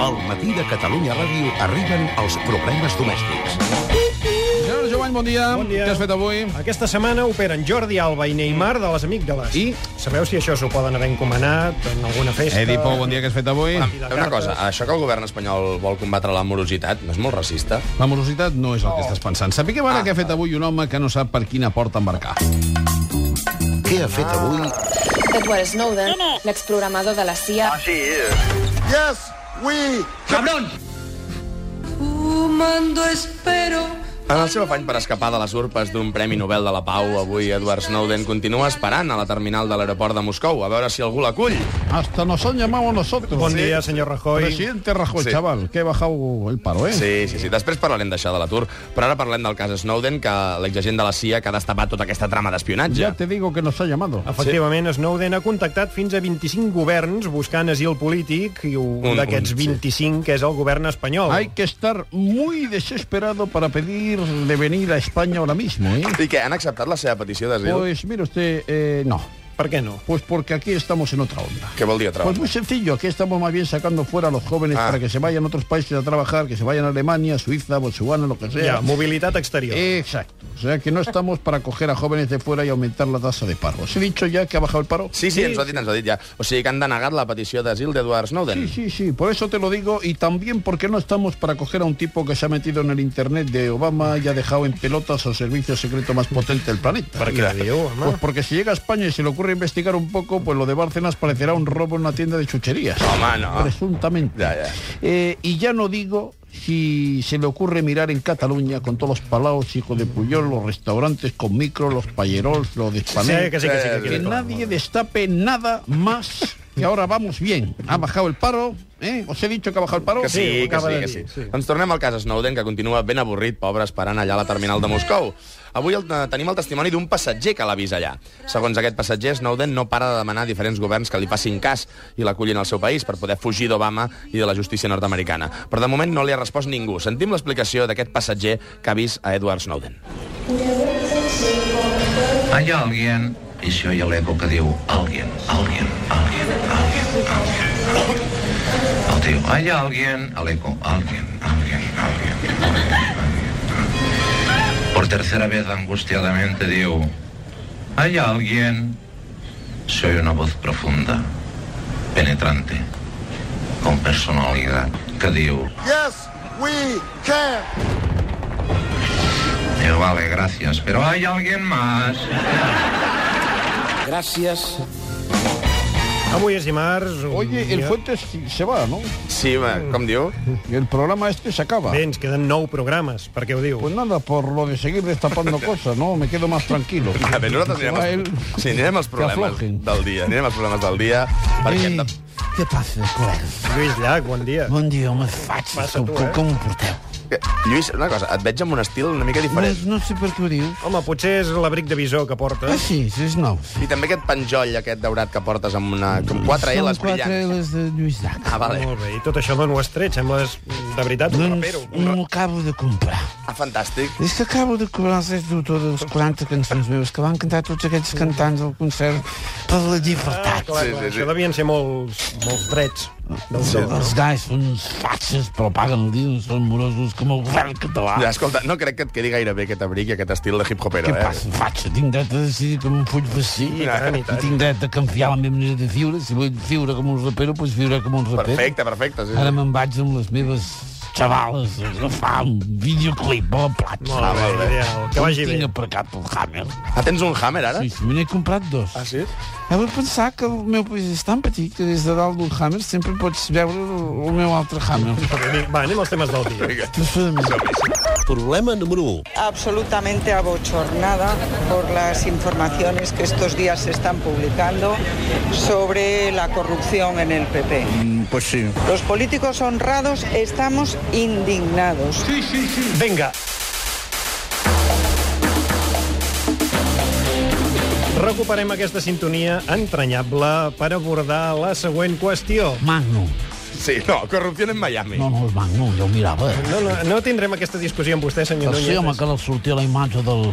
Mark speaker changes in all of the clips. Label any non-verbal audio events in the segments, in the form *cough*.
Speaker 1: Al matí de Catalunya Ràdio arriben els problemes domèstics.
Speaker 2: Gerard Jovany, bon dia.
Speaker 3: Bon dia.
Speaker 2: Què has fet avui?
Speaker 3: Aquesta setmana operen Jordi Alba i Neymar de les Amígdales.
Speaker 2: I?
Speaker 3: Sabeu si això s'ho poden haver encomanat en alguna festa?
Speaker 2: Edi Pou, bon dia, què has fet avui?
Speaker 3: Bon dia.
Speaker 4: Una cosa, això que el govern espanyol vol combatre la morositat no és molt racista?
Speaker 2: La morositat no és el que estàs pensant. Sapiguem
Speaker 3: Ah.
Speaker 2: ara què ha fet avui un home que no sap per quina porta embarcar.
Speaker 1: Què ha fet avui?
Speaker 5: Edward Snowden, l'exprogramador de la CIA,
Speaker 4: En el seu afany per escapar de les urpes d'un Premi Nobel de la Pau, avui Edward Snowden continua esperant a la terminal de l'aeroport de Moscou a veure si algú l'acull.
Speaker 2: Hasta nos han llamado nosotros.
Speaker 3: Bon
Speaker 2: eh?
Speaker 3: dia, senyor Rajoy.
Speaker 2: Presidente Rajoy,
Speaker 4: Sí.
Speaker 2: chaval, que he bajado el paro, eh?
Speaker 4: Sí, sí, sí. Després parlarem d'això de l'atur, però ara parlem del cas Snowden, que l'exagent de la CIA que ha destapat tota aquesta trama d'espionatge.
Speaker 2: Ya te digo que nos ha llamado.
Speaker 3: Efectivament, Snowden ha contactat fins a 25 governs buscant asil polític i un
Speaker 4: Un-
Speaker 3: d'aquests
Speaker 4: un, sí.
Speaker 3: 25 que és el govern espanyol.
Speaker 2: Hay que estar muy desesperado para pedir de venir a España ahora mismo, ¿eh?
Speaker 4: I que han acceptat la seva petició d'asil?
Speaker 2: Pues mire usted, eh, no.
Speaker 3: Per què no?
Speaker 2: Pues porque aquí estamos en otra onda.
Speaker 4: Què vol dir, altra
Speaker 2: Pues
Speaker 4: vegada?
Speaker 2: muy sencillo, aquí estamos más bien sacando fuera a los jóvenes
Speaker 4: Ah.
Speaker 2: para que se vayan a otros países a trabajar, que se vayan a Alemania, Suiza, Botsuana, lo que sea.
Speaker 4: Eh.
Speaker 3: Ja, mobilitat exterior.
Speaker 2: Exacto. O sea que no estamos para coger a jóvenes de fuera y aumentar la tasa de paro. Os he dicho ya que ha bajado el paro.
Speaker 4: Sí, sí, ens ho ha dit, ens ho ha dit ja. O sigui que han denegat la petició d'asil d'Edward Snowden.
Speaker 2: Sí, sí, sí, por eso te lo digo y también porque no estamos para coger a un tipo que se ha metido en el internet de Obama y ha dejado en pelotas al servicio secreto más potente del planeta.
Speaker 3: Per què diu, home?
Speaker 2: Pues porque si llega a España y se le ocurre investigar un poco, pues lo de Bárcenas parecerá un robo en una tienda de chucherías.
Speaker 4: Home, no.
Speaker 2: Presuntamente.
Speaker 4: Ya, ya.
Speaker 2: Eh, y ya no digo si se le ocurre mirar en Cataluña con todos los palaos, hijos de Puyol, los restaurantes con micro, los payerols, los de
Speaker 3: Sí,
Speaker 2: Spanair.
Speaker 3: que sí, que sí. Que,
Speaker 4: Sí,
Speaker 2: Que
Speaker 3: sí.
Speaker 2: nadie destape nada más que ahora vamos bien. Ha bajado el paro, ¿eh? Os he dicho que ha bajado el paro.
Speaker 4: Que sí, que
Speaker 2: Acaba
Speaker 4: sí,
Speaker 2: de
Speaker 4: que sí.
Speaker 2: decir.
Speaker 4: Ens tornem al cas Snowden, que continua ben avorrit, pobre, esperant allà a la terminal de Moscou. Avui el, eh, tenim el testimoni d'un passatger que l'ha vist allà. Segons aquest passatger, Snowden no para de demanar a diferents governs que li facin cas i l'acullin al seu país per poder fugir d'Obama i de la justícia nord-americana. Però de moment no li ha respost ningú. Sentim l'explicació d'aquest passatger que ha vist a Edward Snowden.
Speaker 6: Hay alguien, i això hi ha l'eco que diu alguien, alguien, alguien, alguien, alguien, alguien. El tio, hay alguien, a l'eco, alguien, alguien, alguien, alguien, alguien. Por tercera vez angustiadamente diu, hay alguien, soy una voz profunda, penetrante, con personalidad, que diu, diu, vale, gracias, pero hay alguien más.
Speaker 3: Avui és dimarts. un
Speaker 2: Oye, el
Speaker 3: dia-
Speaker 2: Fuentes se va, ¿no?
Speaker 4: Sí, ma, com diu?
Speaker 2: Y el programa este se acaba.
Speaker 3: Bé, ens queden nou programes, per què ho diu?
Speaker 2: Pues nada, por lo de seguir
Speaker 3: *laughs*
Speaker 2: destapando cosas, ¿no? Me quedo más tranquilo.
Speaker 4: A veure, Ah, nosaltres
Speaker 2: Se va
Speaker 4: anirem,
Speaker 2: él.
Speaker 4: als, sí, anirem als
Speaker 2: Que
Speaker 4: problemes
Speaker 2: aflojen.
Speaker 4: del dia. Anirem als problemes del dia, perquè hem de...
Speaker 7: Què passa, col·legues?
Speaker 3: Lluís Llach, bon dia.
Speaker 7: Bon dia, home, faig.
Speaker 3: Passa
Speaker 7: Com,
Speaker 3: tu,
Speaker 7: com,
Speaker 3: eh?
Speaker 7: com ho porteu?
Speaker 4: Lluís, una cosa, et veig amb un estil una mica
Speaker 7: No,
Speaker 4: diferent.
Speaker 7: no sé per què ho dius.
Speaker 3: Home, potser és l'abric de visó que porta.
Speaker 7: Ah, sí, sí, és nou.
Speaker 4: I també aquest penjoll, aquest daurat que portes amb una... Com quatre
Speaker 7: Són
Speaker 4: L's
Speaker 7: quatre
Speaker 4: brillants.
Speaker 7: L's de Lluís Llach.
Speaker 4: Ah, vale. Mm.
Speaker 3: Molt bé, i tot això d'on ho has tret? Sembles, de veritat, un rapero. um
Speaker 7: Doncs no ho acabo um de comprar.
Speaker 4: Ah, fantàstic.
Speaker 7: És que acabo de cobrar els drets d'autor de les 40 cançons meves que van cantar tots aquests cantants al concert per la
Speaker 3: Ah, clar,
Speaker 7: llibertat.
Speaker 4: Sí,
Speaker 3: clar,
Speaker 4: sí, sí.
Speaker 3: això devien ser molts, molts drets.
Speaker 7: Sí, els gais són uns fatxes, però paguen el dia, són morosos com el govern català.
Speaker 4: Ja, Ah. escolta, no crec que et quedi gaire bé aquest abric i aquest estil de hip-hopero,
Speaker 7: Què
Speaker 4: eh?
Speaker 7: passa, fatxa? Tinc dret a decidir com em fuig vestir.
Speaker 3: I tant, i
Speaker 7: I
Speaker 3: tant.
Speaker 7: tinc dret a canviar la meva manera de viure. Si vull viure com un rapero, doncs viure com un rapero. um
Speaker 4: Perfecte, perfecte. Sí,
Speaker 7: Ara
Speaker 4: sí.
Speaker 7: me'n vaig amb les meves xavales a agafar un videoclip a la platja.
Speaker 3: Molt bé, ideal. Que vagi
Speaker 7: On
Speaker 3: bé.
Speaker 7: Tinc aparcat el Hammer.
Speaker 4: Ah, tens un hammer, ara?
Speaker 7: Sí, sí, me n'he comprat dos.
Speaker 4: Ah, sí?
Speaker 7: Heu de pensar que el meu país és tan petit que des de dalt d'un Hammer sempre pots veure el, el meu altre Hammer.
Speaker 3: Va, anem als temes del dia.
Speaker 7: Absolutament.
Speaker 1: Problema número 1.
Speaker 8: absolutamente abochornada por las informaciones que estos días se están publicando sobre la corrupción en el PP.
Speaker 7: Pues sí.
Speaker 8: Los políticos honrados estamos indignados.
Speaker 3: Vinga. Recuperem aquesta sintonia entranyable per abordar la següent qüestió.
Speaker 7: Magnum.
Speaker 4: Sí, no, corrupció en Miami.
Speaker 7: No, no, el Magnum, jo ho mirava.
Speaker 3: No, no, no tindrem aquesta discussió amb vostè, senyor
Speaker 7: El sí, home,
Speaker 3: Núñez.
Speaker 7: que li sortia la imatge del,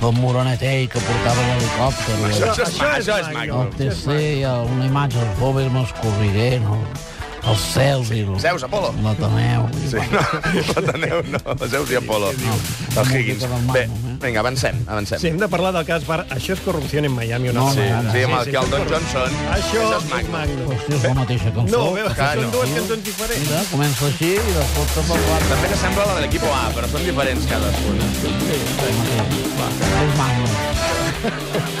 Speaker 7: del morenet ell que portava l'helicòpter.
Speaker 4: Això,
Speaker 7: El,
Speaker 4: això, és, això és maco.
Speaker 7: el TC, una imatge del pobre m'escorriré, no? Els Zeus i... el-
Speaker 4: Zeus, Apolo.
Speaker 7: L'Ateneu.
Speaker 4: Sí, no, l'Ateneu no, Zeus i Apolo. El Higgins. Bé, vinga, avancem, avancem.
Speaker 3: Sí, hem de parlar del cas Bar. Això és corrupció en Miami. Una
Speaker 7: No,
Speaker 4: Sí,
Speaker 3: altra vegada.
Speaker 4: sí, amb el que el Don Johnson.
Speaker 3: Això
Speaker 4: Això
Speaker 3: és
Speaker 4: és Magnum.
Speaker 3: Magnum.
Speaker 7: Hòstia, és la mateixa cançó.
Speaker 3: No, veus, que
Speaker 4: Clar,
Speaker 3: són
Speaker 4: no.
Speaker 3: dues cançons diferents.
Speaker 7: Mira, comença així i després tot el guarda.
Speaker 4: També s'assembla a la de l'equip A, però són diferents cadascuna.
Speaker 7: eh, És maco.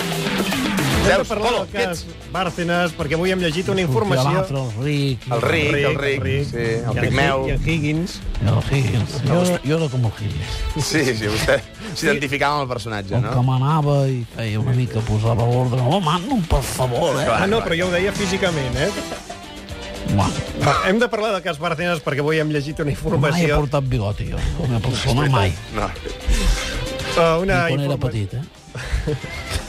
Speaker 3: Hem de
Speaker 4: Zeus,
Speaker 3: parlar
Speaker 4: Apolo,
Speaker 3: del
Speaker 4: ets.
Speaker 3: cas Bárcenas, perquè avui hem llegit una informació...
Speaker 7: L'altre, el ric.
Speaker 4: El ric, el ric, sí, el
Speaker 3: i
Speaker 4: pigmeu.
Speaker 3: I el Higgins.
Speaker 7: El Higgins. Jo, jo era com el Higgins.
Speaker 4: Sí, sí, vostè s'identificava amb el personatge,
Speaker 7: Com
Speaker 4: no?
Speaker 7: que m'anava i feia una mica posava ordre. Home, Magnum, per favor, eh?
Speaker 3: Ah, no, però jo ho deia físicament, eh?
Speaker 7: Bueno,
Speaker 3: Va, Hem de parlar del cas Bárcenas perquè avui hem llegit una
Speaker 7: mai he
Speaker 3: informació...
Speaker 7: portat bigoti, jo. Com a persona, mai.
Speaker 4: No.
Speaker 3: eh, Una
Speaker 7: Quan era
Speaker 3: informa-
Speaker 7: petit, eh?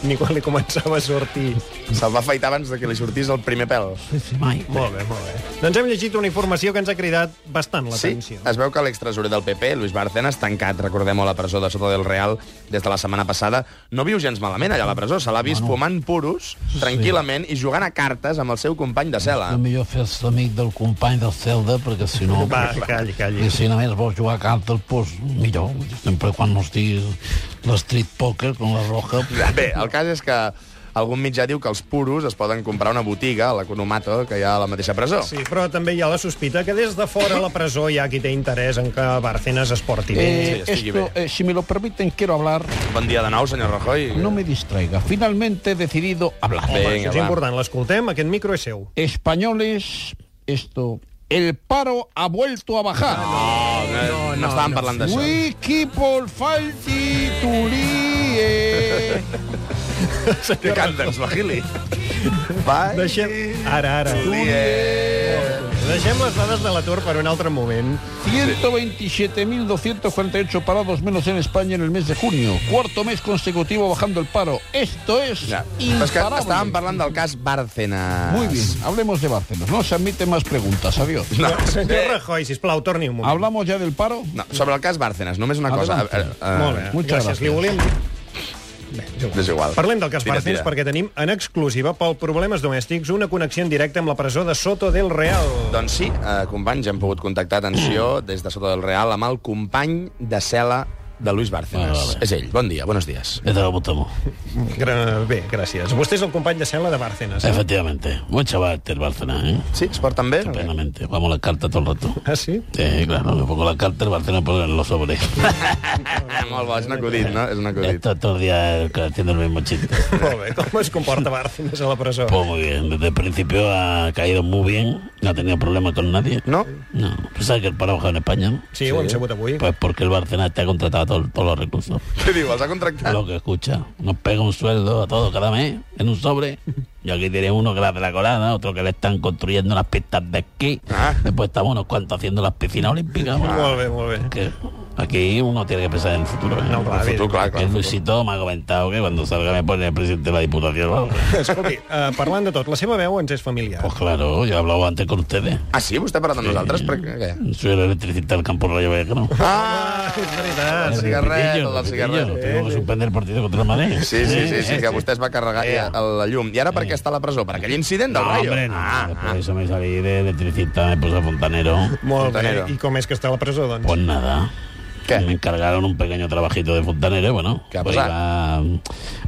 Speaker 3: Ni quan li començava a sortir.
Speaker 4: Se'l va afaitar abans de que li sortís el primer pèl.
Speaker 7: Sí, sí, mai.
Speaker 3: Molt bé, molt bé. Doncs hem llegit una informació que ens ha cridat bastant
Speaker 4: Sí,
Speaker 3: l'atenció.
Speaker 4: es veu que l'extresorer del PP, Luis Bárcenas, tancat, recordem-ho, a la presó de Sota del Real des de la setmana passada, no viu gens malament allà a la presó. Se l'ha vist fumant puros, tranquil·lament, i jugant a cartes amb el seu company de cel·la.
Speaker 7: El millor fer-se amic del company del Celda, perquè si no...
Speaker 3: Va, calli, calli.
Speaker 7: I si només vols jugar a cartes, doncs millor. Sempre quan no estiguis l'estreet poker con la roja...
Speaker 4: Bé, el cas és que algun mitjà diu que els puros es poden comprar a una botiga, a l'Economato, que hi ha a la mateixa presó.
Speaker 3: Sí, però també hi ha la sospita que des de fora la presó hi ha qui té interès en que Bárcenas es porti bé.
Speaker 2: Eh,
Speaker 4: Sí, estoy
Speaker 2: esto, eh, si me lo permiten, quiero hablar.
Speaker 4: Bon dia de nou, senyor Rajoy.
Speaker 2: No me distraiga. Finalmente he decidido hablar.
Speaker 3: Home,
Speaker 4: Vinga,
Speaker 3: això és
Speaker 4: va.
Speaker 3: important, l'escoltem, aquest micro és seu.
Speaker 2: Españoles, esto... El paro ha vuelto a bajar.
Speaker 4: No, no, no, no estàvem parlant d'això.
Speaker 2: We keep all fighting to live.
Speaker 4: Que canta'ns, Vagili. Va,
Speaker 3: Deixem... Ara, ara.
Speaker 4: eh.
Speaker 3: Deixem les dades de l'atur per un altre moment.
Speaker 2: 127.248 parados menos en España en el mes de junio. Cuarto mes consecutivo bajando el paro. Esto es
Speaker 4: Ja. Però és pues que
Speaker 2: imparable.
Speaker 4: estàvem parlant del cas Bárcenas.
Speaker 2: Muy bien, hablemos de Bárcenas. No se admiten más preguntas. Adiós.
Speaker 4: No,
Speaker 3: Senyor
Speaker 4: eh,
Speaker 3: Rajoy, sisplau, torni un moment.
Speaker 2: ¿Hablamos ya del paro?
Speaker 4: no, sobre el cas Bárcenas, només una cosa. Eh,
Speaker 2: Adelante.
Speaker 3: Molt bé,
Speaker 2: Muchas
Speaker 3: gràcies. Li
Speaker 2: gràcies.
Speaker 3: volíem dir...
Speaker 4: És igual.
Speaker 3: Parlem del cas
Speaker 4: Tira,
Speaker 3: Bárcenas
Speaker 4: tira.
Speaker 3: perquè tenim en exclusiva pel Problemes Domèstics una connexió en directe amb la presó de Soto del Real.
Speaker 4: Doncs sí, eh, companys, hem pogut contactar, atenció, des de Sota del Real, amb el company de cel·la de Luis Bárcenas.
Speaker 7: Vale, vale.
Speaker 4: És ell. Bon dia, buenos días.
Speaker 7: He dado botamo.
Speaker 3: Gra- Bé, gràcies. Vostè és el company de cel·la de Bárcenas. eh?
Speaker 7: Efectivamente. Buen chaval el Barcelona, ¿eh?
Speaker 4: Sí, es porten bé?
Speaker 7: Plenamente. Vamos a la carta todo el rato.
Speaker 3: Ah, sí?
Speaker 7: Eh, claro, le pongo la carta el Barcelona por en los sobres.
Speaker 4: Ah, Molt bo, és un acudit, no? És un acudit.
Speaker 7: Está todo el día eh, haciendo el mismo chiste.
Speaker 3: Molt bé, com es comporta Bárcenas a la presó?
Speaker 7: Pues muy bien. Desde el principio ha caído muy bien. No ha tenido problemas con nadie.
Speaker 4: No?
Speaker 7: No. Pues sabes que el paro ha bajado en España, ¿no?
Speaker 3: Sí, ho hem sabut avui.
Speaker 7: Pues porque el Barcelona te ha contratado a todo- todos los recursos.
Speaker 4: Què diu, els ha contractat?
Speaker 7: Lo que escucha. Nos pega un sueldo a todos cada mes en un sobre. Y aquí tiene uno que la de la colada, otro que le están construyendo las pistas de esquí.
Speaker 4: Ah.
Speaker 7: Después estamos unos cuantos haciendo las piscinas olímpicas. bueno,
Speaker 3: Molt bé, molt bé.
Speaker 7: que aquí uno tiene que pensar en el futuro. ¿eh?
Speaker 3: No, clar,
Speaker 4: El futur,
Speaker 3: evidentment.
Speaker 4: clar, clar.
Speaker 7: el Luisito me ha comentado que cuando salga me pone el presidente de la Diputación. ¿no?
Speaker 3: Escolti, eh, parlant de tot, la seva veu ens és familiar.
Speaker 7: Pues claro, yo he hablado antes con ustedes.
Speaker 4: Ah, sí? Vostè ha parlat amb nosaltres? Per què?
Speaker 7: Soy el electricista del campo Rayo
Speaker 4: *laughs*
Speaker 7: Vallecano.
Speaker 4: Ah,
Speaker 3: És veritat.
Speaker 7: Eh,
Speaker 4: el cigarret, el del cigarret.
Speaker 7: Tengo que suspender el partido contra el Madrid.
Speaker 4: Sí, sí, sí, sí,
Speaker 7: Eh,
Speaker 4: que vostè es va carregar ja la llum. I ara per què està a la presó? Per aquell incident del
Speaker 7: No,
Speaker 4: Rayo?
Speaker 7: hombre, eh. no.
Speaker 4: Ah,
Speaker 7: Después
Speaker 4: ah.
Speaker 7: de eso me salí de electricista, me puse fontanero.
Speaker 3: Molt bé.
Speaker 4: Fontanero.
Speaker 3: I com és que està a la presó, doncs?
Speaker 7: Pues nada.
Speaker 4: ¿Qué?
Speaker 7: Me encargaron un pequeño trabajito de fontanero, y bueno.
Speaker 4: ¿Qué ha
Speaker 7: pues iba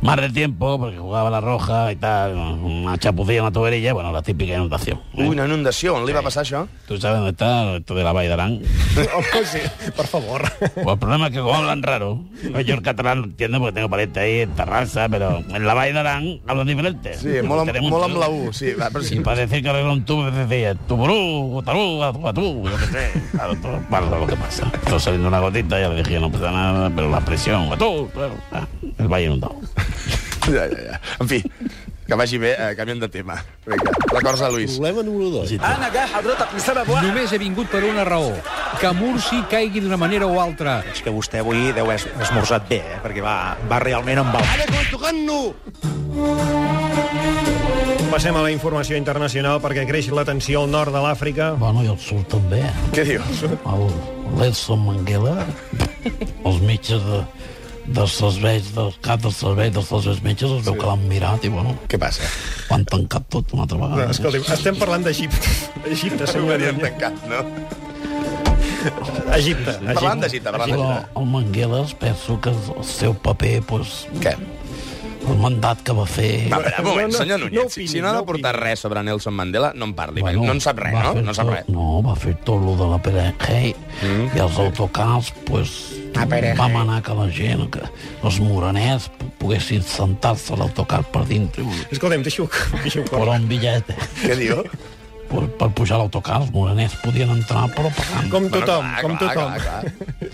Speaker 7: más de tiempo, porque jugaba la roja y tal, una chapucilla, una tuberilla, y bueno, la típica inundación. ¿eh?
Speaker 4: Ui, una inundació. On li va passar això?
Speaker 7: ¿Tú sabes dónde está esto de la Vall
Speaker 4: *laughs*
Speaker 7: d'Aran?
Speaker 3: *laughs* Home, sí, per favor.
Speaker 7: Pues el problema es que como hablan raro, yo el catalán lo entiendo porque tengo parientes ahí en Tarrasa, pero en la Vall d'Aran hablan diferente.
Speaker 4: Sí, molt amb,
Speaker 7: Tenemos
Speaker 4: molt
Speaker 7: un-
Speaker 4: amb la U. Sí, va, però
Speaker 7: Y
Speaker 4: sí. *laughs*
Speaker 7: para decir que arregla un tubo, decía, tuburú, guatarú, guatú, yo qué sé. Claro, todo, bueno, todo lo que pasa. Todo saliendo una gotita, ya le dije, no pasa nada, pero la presión, guatú, claro, ah, el valle inundado.
Speaker 4: Ja, ja, ja. En fi, que vagi bé, eh, canviem de tema. Vinga, records a Luis.
Speaker 2: Problema número 2.
Speaker 7: Sí,
Speaker 9: Només he vingut per una raó, que Mursi caigui d'una manera o altra.
Speaker 10: És que vostè avui deu es- esmorzat bé, eh? perquè va, va realment amb el...
Speaker 3: Passem a la informació internacional perquè creix la tensió al nord de l'Àfrica.
Speaker 7: Bueno, i el sud també.
Speaker 4: Què dius?
Speaker 7: El Nelson Mandela, els metges de, dels serveis, dels caps dels serveis, dels serveis metges, es veu que l'han mirat i, bueno...
Speaker 4: Què passa?
Speaker 7: Ho han tancat tot una altra vegada.
Speaker 3: Escolti, estem parlant d'Egipte. Egipte,
Speaker 4: Haurien
Speaker 3: segurament.
Speaker 4: tancat, no?
Speaker 3: Egipte.
Speaker 4: Parlant d'Egipte, parlant
Speaker 7: Però
Speaker 4: d'Egipte.
Speaker 7: el Mangueles penso que el seu paper, pues,
Speaker 4: Què?
Speaker 7: el mandat que va fer...
Speaker 4: Va, espera, un
Speaker 3: No,
Speaker 4: moment,
Speaker 3: no,
Speaker 4: senyor
Speaker 3: no
Speaker 4: Núñez, si-
Speaker 3: opini,
Speaker 4: si no ha de
Speaker 3: no
Speaker 4: portar
Speaker 3: opini.
Speaker 4: res sobre Nelson Mandela, no en parli, perquè no en sap res,
Speaker 7: va
Speaker 4: no?
Speaker 7: fer
Speaker 4: No en sap
Speaker 7: tot-
Speaker 4: res. Mm-hmm.
Speaker 7: No, va fer tot lo de la Pere Hey mm. i els autocars, pues, va manar que la gent, que els moraners pu- poguessin sentar-se a l'autocar per dintre.
Speaker 3: Escolta'm, deixa-ho deixa
Speaker 7: Però un bitllet
Speaker 4: Què diu?
Speaker 7: per, per pujar a l'autocar, els moraners podien entrar, però pagant.
Speaker 3: Com tothom,
Speaker 4: ah, clar,
Speaker 3: com
Speaker 4: clar,
Speaker 3: tothom.
Speaker 4: clar, clar.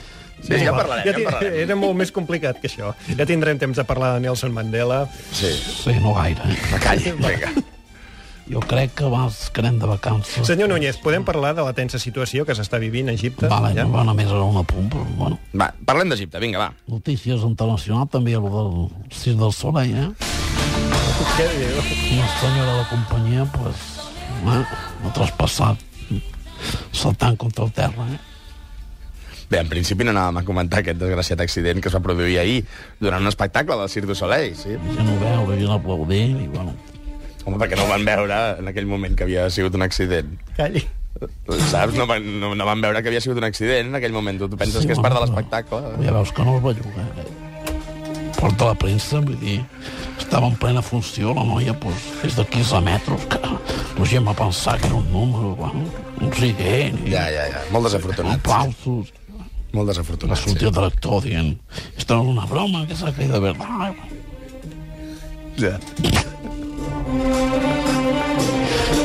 Speaker 4: Sí, ja parlarem, ja
Speaker 3: ti-
Speaker 4: parlarem.
Speaker 3: Era molt més complicat que això. Ja tindrem temps de parlar de Nelson Mandela.
Speaker 4: Sí,
Speaker 7: Sí, no gaire. eh?
Speaker 4: calli,
Speaker 7: *laughs*
Speaker 4: vinga.
Speaker 7: Jo crec que vas quedant de vacances.
Speaker 3: Senyor Núñez, podem parlar de la tensa situació que s'està vivint a Egipte?
Speaker 7: Vale,
Speaker 3: Ja?
Speaker 7: no va només a un apunt, però bueno.
Speaker 4: Va, parlem d'Egipte, vinga, va.
Speaker 7: Notícies internacionals, també el del Cirque del Soleil, eh?
Speaker 3: Què diu?
Speaker 7: Una senyora de la companyia, pues, eh? ha traspassat saltant contra el terra, eh?
Speaker 4: Bé, en principi no anàvem a comentar aquest desgraciat accident que es va produir ahir durant un espectacle del Cirque du Soleil, sí.
Speaker 7: La gent ho veu, la gent aplaudir, i bueno...
Speaker 4: Home, perquè no ho van veure en aquell moment que havia sigut un accident.
Speaker 3: Calli.
Speaker 4: Saps? No van, no, no van veure que havia sigut un accident en aquell moment. Tu, tu penses
Speaker 7: Sí,
Speaker 4: que és part de
Speaker 7: bueno,
Speaker 4: l'espectacle?
Speaker 7: però Ja veus que no es va jugar, eh? Porta la premsa, vull dir... Estava en plena funció, la noia, pues, des de 15 metres, que la gent va pensar que era un número, bueno, un riguent, i...
Speaker 4: Ja, ja, ja. Molt desafortunat.
Speaker 7: Aplausos.
Speaker 4: Molt
Speaker 7: Va
Speaker 4: desafortunat,
Speaker 7: sortir
Speaker 4: sí.
Speaker 7: el director dient «Esto es una broma, que s'ha caído de verdad». eh?"
Speaker 4: Ja.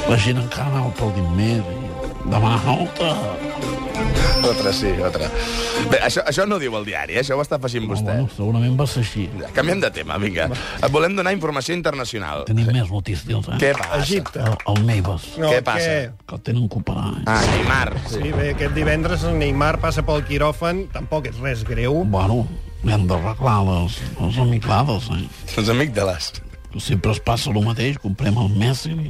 Speaker 7: La gent encara anava aplaudint més i demanava «Alta!».
Speaker 4: Otra, sí, otra. Bé, això, això no ho diu el diari, eh? això ho està afegint
Speaker 7: Però,
Speaker 4: vostè.
Speaker 7: bueno, segurament va ser així.
Speaker 4: Ja, Canviem de tema, vinga. Et volem donar informació internacional.
Speaker 7: Tenim més notícies, eh?
Speaker 4: Què passa?
Speaker 3: Egipte.
Speaker 7: El, el Neves,
Speaker 3: No,
Speaker 4: Què passa?
Speaker 7: que el tenen que operar. Eh?
Speaker 4: Ah, Neymar.
Speaker 3: Sí, bé, aquest divendres el Neymar passa pel quiròfan, tampoc és res greu.
Speaker 7: Bueno, hem d'arreglar les, les amiclades, eh?
Speaker 4: Els amígdales.
Speaker 7: Sempre es passa el mateix, comprem el Messi, li,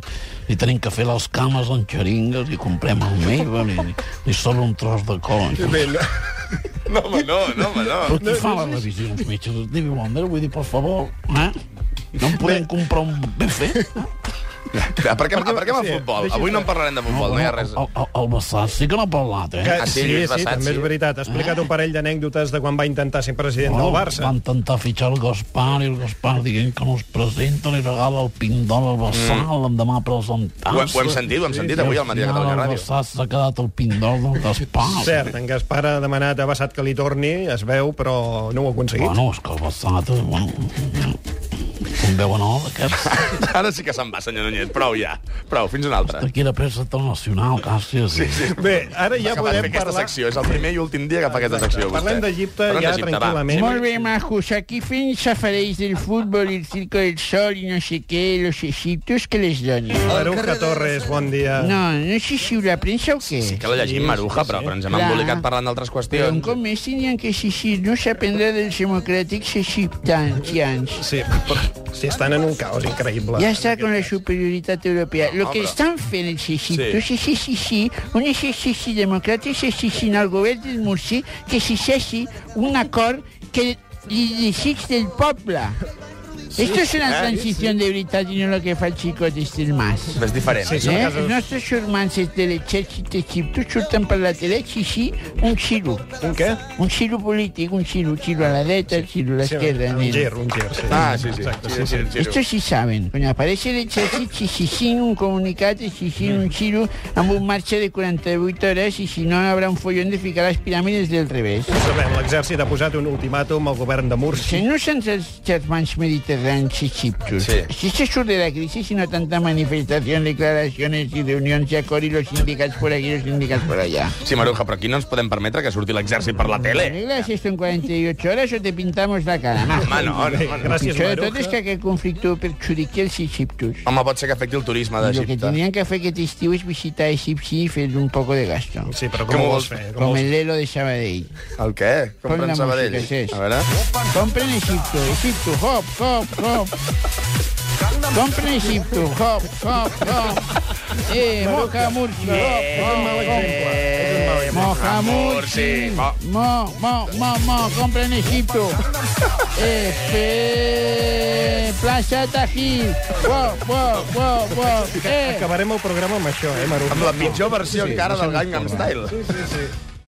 Speaker 7: li tenim que fer les cames en xeringues, i comprem el Neves, li, li sobra un tros de col.
Speaker 3: Bé, no,
Speaker 4: *laughs* No, home, no, no, home,
Speaker 7: Però
Speaker 4: no.
Speaker 7: qui fa la revisió als metges? El Stevie Wonder, vull dir, per favor, eh? No en podem comprar un
Speaker 4: *laughs*
Speaker 7: buffet?
Speaker 4: Aparquem, aparquem el
Speaker 3: Sí,
Speaker 4: futbol.
Speaker 3: deixa-
Speaker 4: Avui no en parlarem de futbol, no Ah, hi ha res.
Speaker 7: El, el, el Bassat sí que no ha parlat, eh?
Speaker 3: Que,
Speaker 4: Ah, sí,
Speaker 3: sí, sí,
Speaker 4: Lluís Bassat,
Speaker 3: també
Speaker 4: sí.
Speaker 3: és veritat. Ha explicat un parell d'anècdotes de quan va intentar ser president
Speaker 7: Bueno,
Speaker 3: del Barça.
Speaker 7: Van intentar fitxar el Gaspar i el Gaspar dient que no es presenta, li regala el pindol al Bassat, mm. l'endemà a presentar-se.
Speaker 4: Ho, ho hem sentit, ho hem sentit avui al Matí de Catalunya
Speaker 7: final,
Speaker 4: Ràdio.
Speaker 7: El Bassat s'ha quedat el pindol del Gaspar.
Speaker 3: Cert, en Gaspar ha demanat a Bassat que li torni, es veu, però no ho ha aconseguit.
Speaker 7: Bueno, és que el Bassat... eh, Bueno, com veuen no,
Speaker 4: *laughs*
Speaker 7: aquest...
Speaker 4: Ara sí que se'n va, senyor Núñez. Prou ja. Prou, fins una altra.
Speaker 7: Aquí era presa internacional, gràcies. Sí, sí.
Speaker 3: Bé, ara ja
Speaker 4: Acabat de
Speaker 3: podem
Speaker 4: fer aquesta
Speaker 3: parlar...
Speaker 4: secció. És el primer i últim dia que fa aquesta secció, vostè.
Speaker 3: Parlem d'Egipte
Speaker 4: Parlem
Speaker 3: ja
Speaker 4: d'Egipte, va.
Speaker 3: tranquil·lament.
Speaker 2: Molt bé, majos, aquí fent safareig del futbol i el circo del sol i no sé què, los egiptos que les donin.
Speaker 3: Maruja Torres, bon dia.
Speaker 2: No, no sé si la premsa o què.
Speaker 4: Ah. Sí que l'he llegit, Maruja, però, però ens hem
Speaker 2: Clar.
Speaker 4: embolicat parlant d'altres
Speaker 2: Però un
Speaker 4: qüestions.
Speaker 2: cop més tindrien que exigir no s'aprendre dels democràtics egipcians.
Speaker 3: Sí, però sí, estan en un caos increïble.
Speaker 2: Ja està amb la superioritat europea. El que
Speaker 4: però-
Speaker 2: estan fent els egiptos és exigir un exercici democràtic exigint al govern del Mursi que exigeixi un acord que li desig del poble. Esto es una
Speaker 4: eh?
Speaker 2: transición de veritat i no lo que fa el xicot Estil Mas.
Speaker 4: És diferent.
Speaker 3: Sí,
Speaker 2: Eh?
Speaker 3: són
Speaker 2: Els
Speaker 3: casos...
Speaker 2: nostres germans de l'exèrcit egipto surten per la tele a exigir un xilo.
Speaker 3: Un què?
Speaker 2: Un xilo polític, un xilo, un xilo a la dreta, un xilo a l'esquerra.
Speaker 3: un
Speaker 2: nen.
Speaker 3: gir, un gir, sí.
Speaker 4: Ah, sí, sí.
Speaker 3: Exacte,
Speaker 4: sí, sí, sí,
Speaker 2: Esto sí saben. Quan apareix l'exèrcit, si si sí, un comunicat, si sí, un xiro, amb un marxa de 48 hores i si no haurà un follón de ficar les piràmides del revés.
Speaker 3: Ho sabem, l'exèrcit ha posat un ultimàtum al govern de
Speaker 2: Si
Speaker 3: Mursi.
Speaker 2: no són els germans mediterranis egipcios,
Speaker 4: Sí.
Speaker 2: pues. si se surt de la crisi, sino tanta manifestación, declaraciones y reuniones y acord y los sindicats por aquí, los sindicats por allá.
Speaker 4: Sí, Maruja, però aquí no ens podem permetre que surti l'exèrcit per la tele.
Speaker 2: ¿Arreglas esto en 48 horas o te pintamos la cara? majo?
Speaker 4: Home, no, no, home, no.
Speaker 3: Gràcies,
Speaker 2: Sobre tot és que
Speaker 3: Maruja.
Speaker 2: aquest conflicte perjudiqui els egiptos.
Speaker 4: Home, pot ser que afecti el turisme
Speaker 2: Lo que
Speaker 4: d'Egipte.
Speaker 2: tendrían que hacer aquest estiu és visitar Egipci i fer un poco de gasto.
Speaker 3: Sí, però
Speaker 4: Com
Speaker 3: com ho
Speaker 4: ho
Speaker 3: vols
Speaker 4: vols?
Speaker 3: fer? Com
Speaker 2: Com
Speaker 3: ho vols
Speaker 2: el Lelo de Sabadell.
Speaker 4: El què?
Speaker 2: Pon
Speaker 4: Compren
Speaker 2: la
Speaker 4: Sabadell.
Speaker 2: música, sí.
Speaker 4: A veure...
Speaker 2: Compren Egipto, Egipto, hop, hop, hop. Compren Egipto, hop, hop, hop. Eh, Moca, Murcia, hop, hop, hop.
Speaker 3: exemple. És un mal exemple.
Speaker 2: Mohamuchi. Mo, mo, mo, mo, compra en Egipto. Eh, fe- Plaza Tají. Wow, wow, wow, wow. Eh.
Speaker 3: Acabarem el programa amb això, eh, Maru?
Speaker 4: Amb la pitjor versió encara del Gangnam Style.
Speaker 3: Sí, sí, sí.